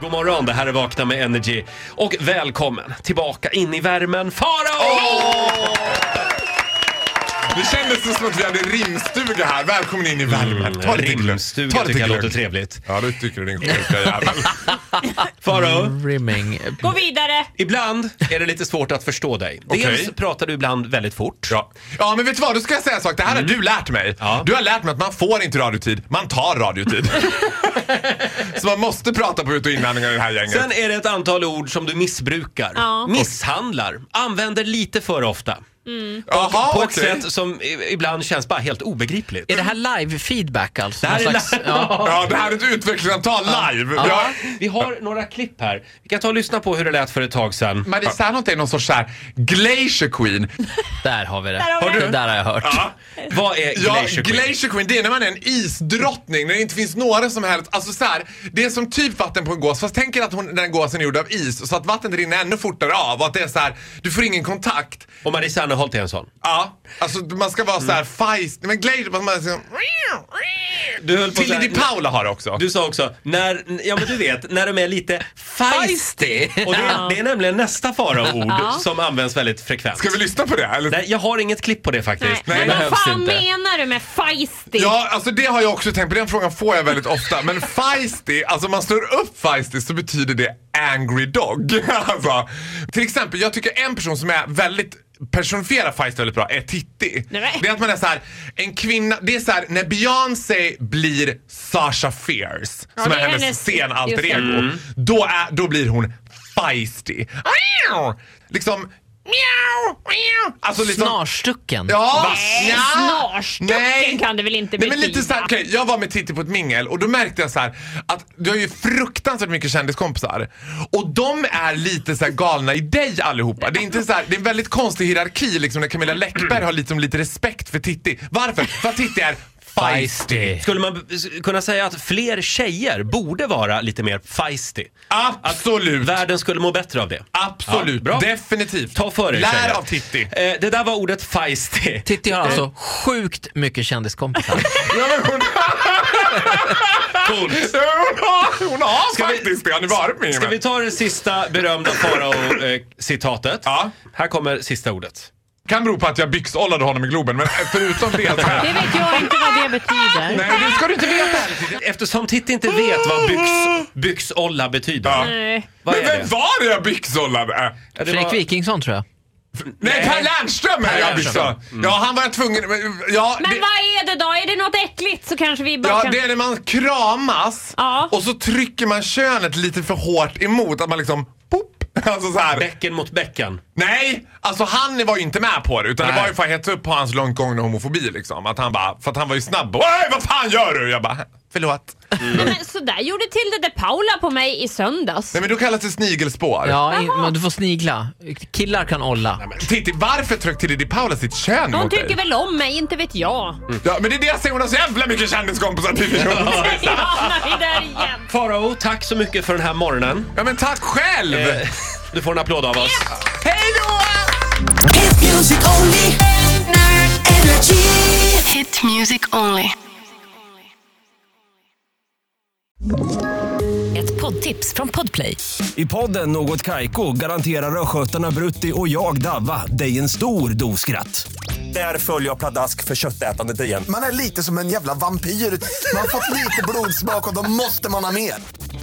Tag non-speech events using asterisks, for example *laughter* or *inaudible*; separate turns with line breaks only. God morgon, det här är Vakna med Energy. Och välkommen tillbaka in i värmen, Farao!
Det kändes så som att vi hade rimstuga här. Välkommen in i värmen. Ta lite glögg.
rimstuga
Ta
Mm,
lite
tycker jag
glögg.
låter trevligt.
Ja, det tycker du din
*laughs*
sjuka jävel. Mm.
Farao,
Rimming.
Gå vidare!
ibland är det lite svårt att förstå dig. Dels
Okej.
pratar du ibland väldigt fort.
Ja. ja, men vet du vad? Då ska jag säga en sak. Det här har du lärt mig.
Mm. Ja.
Du har lärt mig att man får inte radiotid, man tar
*laughs*
radiotid. så man måste prata på ut och inandningar i det här gänget.
Sen är det ett antal ord som du missbrukar,
Ja.
misshandlar, använder lite för ofta.
Jaha,
På ett
okej.
sätt som i- ibland känns bara helt obegripligt.
Är det här live-feedback alltså?
Det här
Någon
är
slags-
live.
ja.
Ja, det här är ett utvecklingssamtal live. Ja.
Ja, vi har några klipp här. Vi kan ta och lyssna på hur det lät för ett tag sedan.
Marie Serneholt är någon sorts så här glacier queen.
Där har vi det.
Där har vi Har det. du?
Det där har jag hört.
Vad är
Ja,
Glacier Queen?
Glacier Queen, det är när man är en isdrottning, när det inte finns några som helst, alltså så här, det är som typ vatten på en gås, fast tänk er att hon, den gåsen är gjord av is, så att vattnet rinner ännu fortare av och att det är så här, du får ingen kontakt.
Och Marie Serneholt är en sån.
Ja, alltså man ska vara så
Mm.
här feist, men Glacier, man man ska,
Du höll på så
Tilly
här-
Di Paula har det också.
Du sa också, när, ja men du vet, när de är lite feisty.
Feisty.
Och det, är-
Ja.
det är nämligen nästa faraoord som används väldigt frekvent.
Ska vi lyssna på det? Eller?
Nej, jag har inget klipp på det
Nej,
faktiskt.
Nej,
men
det
vad
behövs
fan
inte.
menar du med feisty?
Ja, alltså det har jag också tänkt på. Den frågan får jag väldigt ofta. Men feisty, alltså om man slår upp feisty så betyder det angry dog. *laughs* Alltså, till exempel, jag tycker en person som är väldigt personifierar feisty väldigt bra är Titti.
Nej, men-
Det är att man är så här, en kvinna, det är så här när Beyoncé blir Sasha Fierce,
Ja,
som är
det är
hennes,
hennes-
scenalter
just det.
ego, då, är, då blir hon feisty. Liksom, miau, miau. Alltså liksom,
Snarstucken.
Ja,
Nej,
nja.
snarstucken
Nej.
kan det väl inte
Nej, men lite
betyda.
så här, okej, Jag var med Titti på ett mingel och då märkte jag så här att du har ju fruktansvärt mycket kändiskompisar. Och de är lite så här galna i dig allihopa. Det är, inte så här, det är en väldigt konstig hierarki liksom när Camilla Läckberg har liksom lite respekt för Titti. Varför? För att Titti är feisty.
Skulle man b- s- kunna säga att fler tjejer borde vara lite mer feisty?
Absolut.
Världen skulle må bättre av det.
Absolut.
Ja, bra.
Definitivt.
Ta för er
Lär
tjejer.
av Titti.
Eh, det där var ordet feisty.
Titti har alltså sjukt mycket kändiskompisar.
*laughs* Ja, men *laughs* hon,
Coolt.
hon har, hon har
Ska vi-
faktiskt det. Har ni varit med
Ska vi ta det sista berömda farao-citatet?
Ja.
Här kommer sista ordet.
Kan bero på att jag byxollade honom i Globen, men förutom det så
Det vet jag inte vad det betyder.
Nej, det ska du inte veta.
Eftersom Titti inte vet vad byx, byxolla betyder.
Ja.
Nej.
Vad
Men
är
vem
det?
var det jag byxollade?
Ja, det
Fredrik
var-
Wikingsson tror jag.
Nej, Per Lernström är jag byxollade. Ja, han var jag tvungen... men- Ja,
Men
det,
vad är det då? Är det något äckligt så kanske vi bara
ja,
kan...
det är när man kramas
Ja.
och så trycker man könet lite för hårt emot. Att man liksom... Pop, alltså så här.
Bäcken mot bäcken.
Nej, alltså han var ju inte med på det. Utan det
Nej.
var ju för att hetsa upp på hans långt gångna homofobi liksom. Att han bara, för att han var ju snabb. och, "Oj, vad fan gör du? Jag bara, förlåt.
Nej, men sådär gjorde Tilde de Paula på mig i söndags.
Nej men då kallas det snigelspår.
Ja, i, men du får snigla. Killar kan olla.
Titti, varför tryckte Diddy Paula sitt kön
De
mot dig?
tycker väl om mig, inte vet jag. *laughs*
Ja, men det är det jag säger. Hon har så jävla mycket kändiskompisar Titti Johansson.
Jag hamnar vi där igen.
Farao, tack så mycket för den här morgonen.
Ja men tack själv!
Eh, Du får en applåd av oss.
Hej då!
Hit music only. Energy.
Hit music only.
Ett poddtips från Podplay.
I podden Något Kaiko garanterar östgötarna Brutti och jag, Davva, dig en stor dos skratt. Där följer jag pladask för köttätandet igen.
Man är lite som en jävla vampyr. Man har fått lite blodsmak och då måste man ha mer.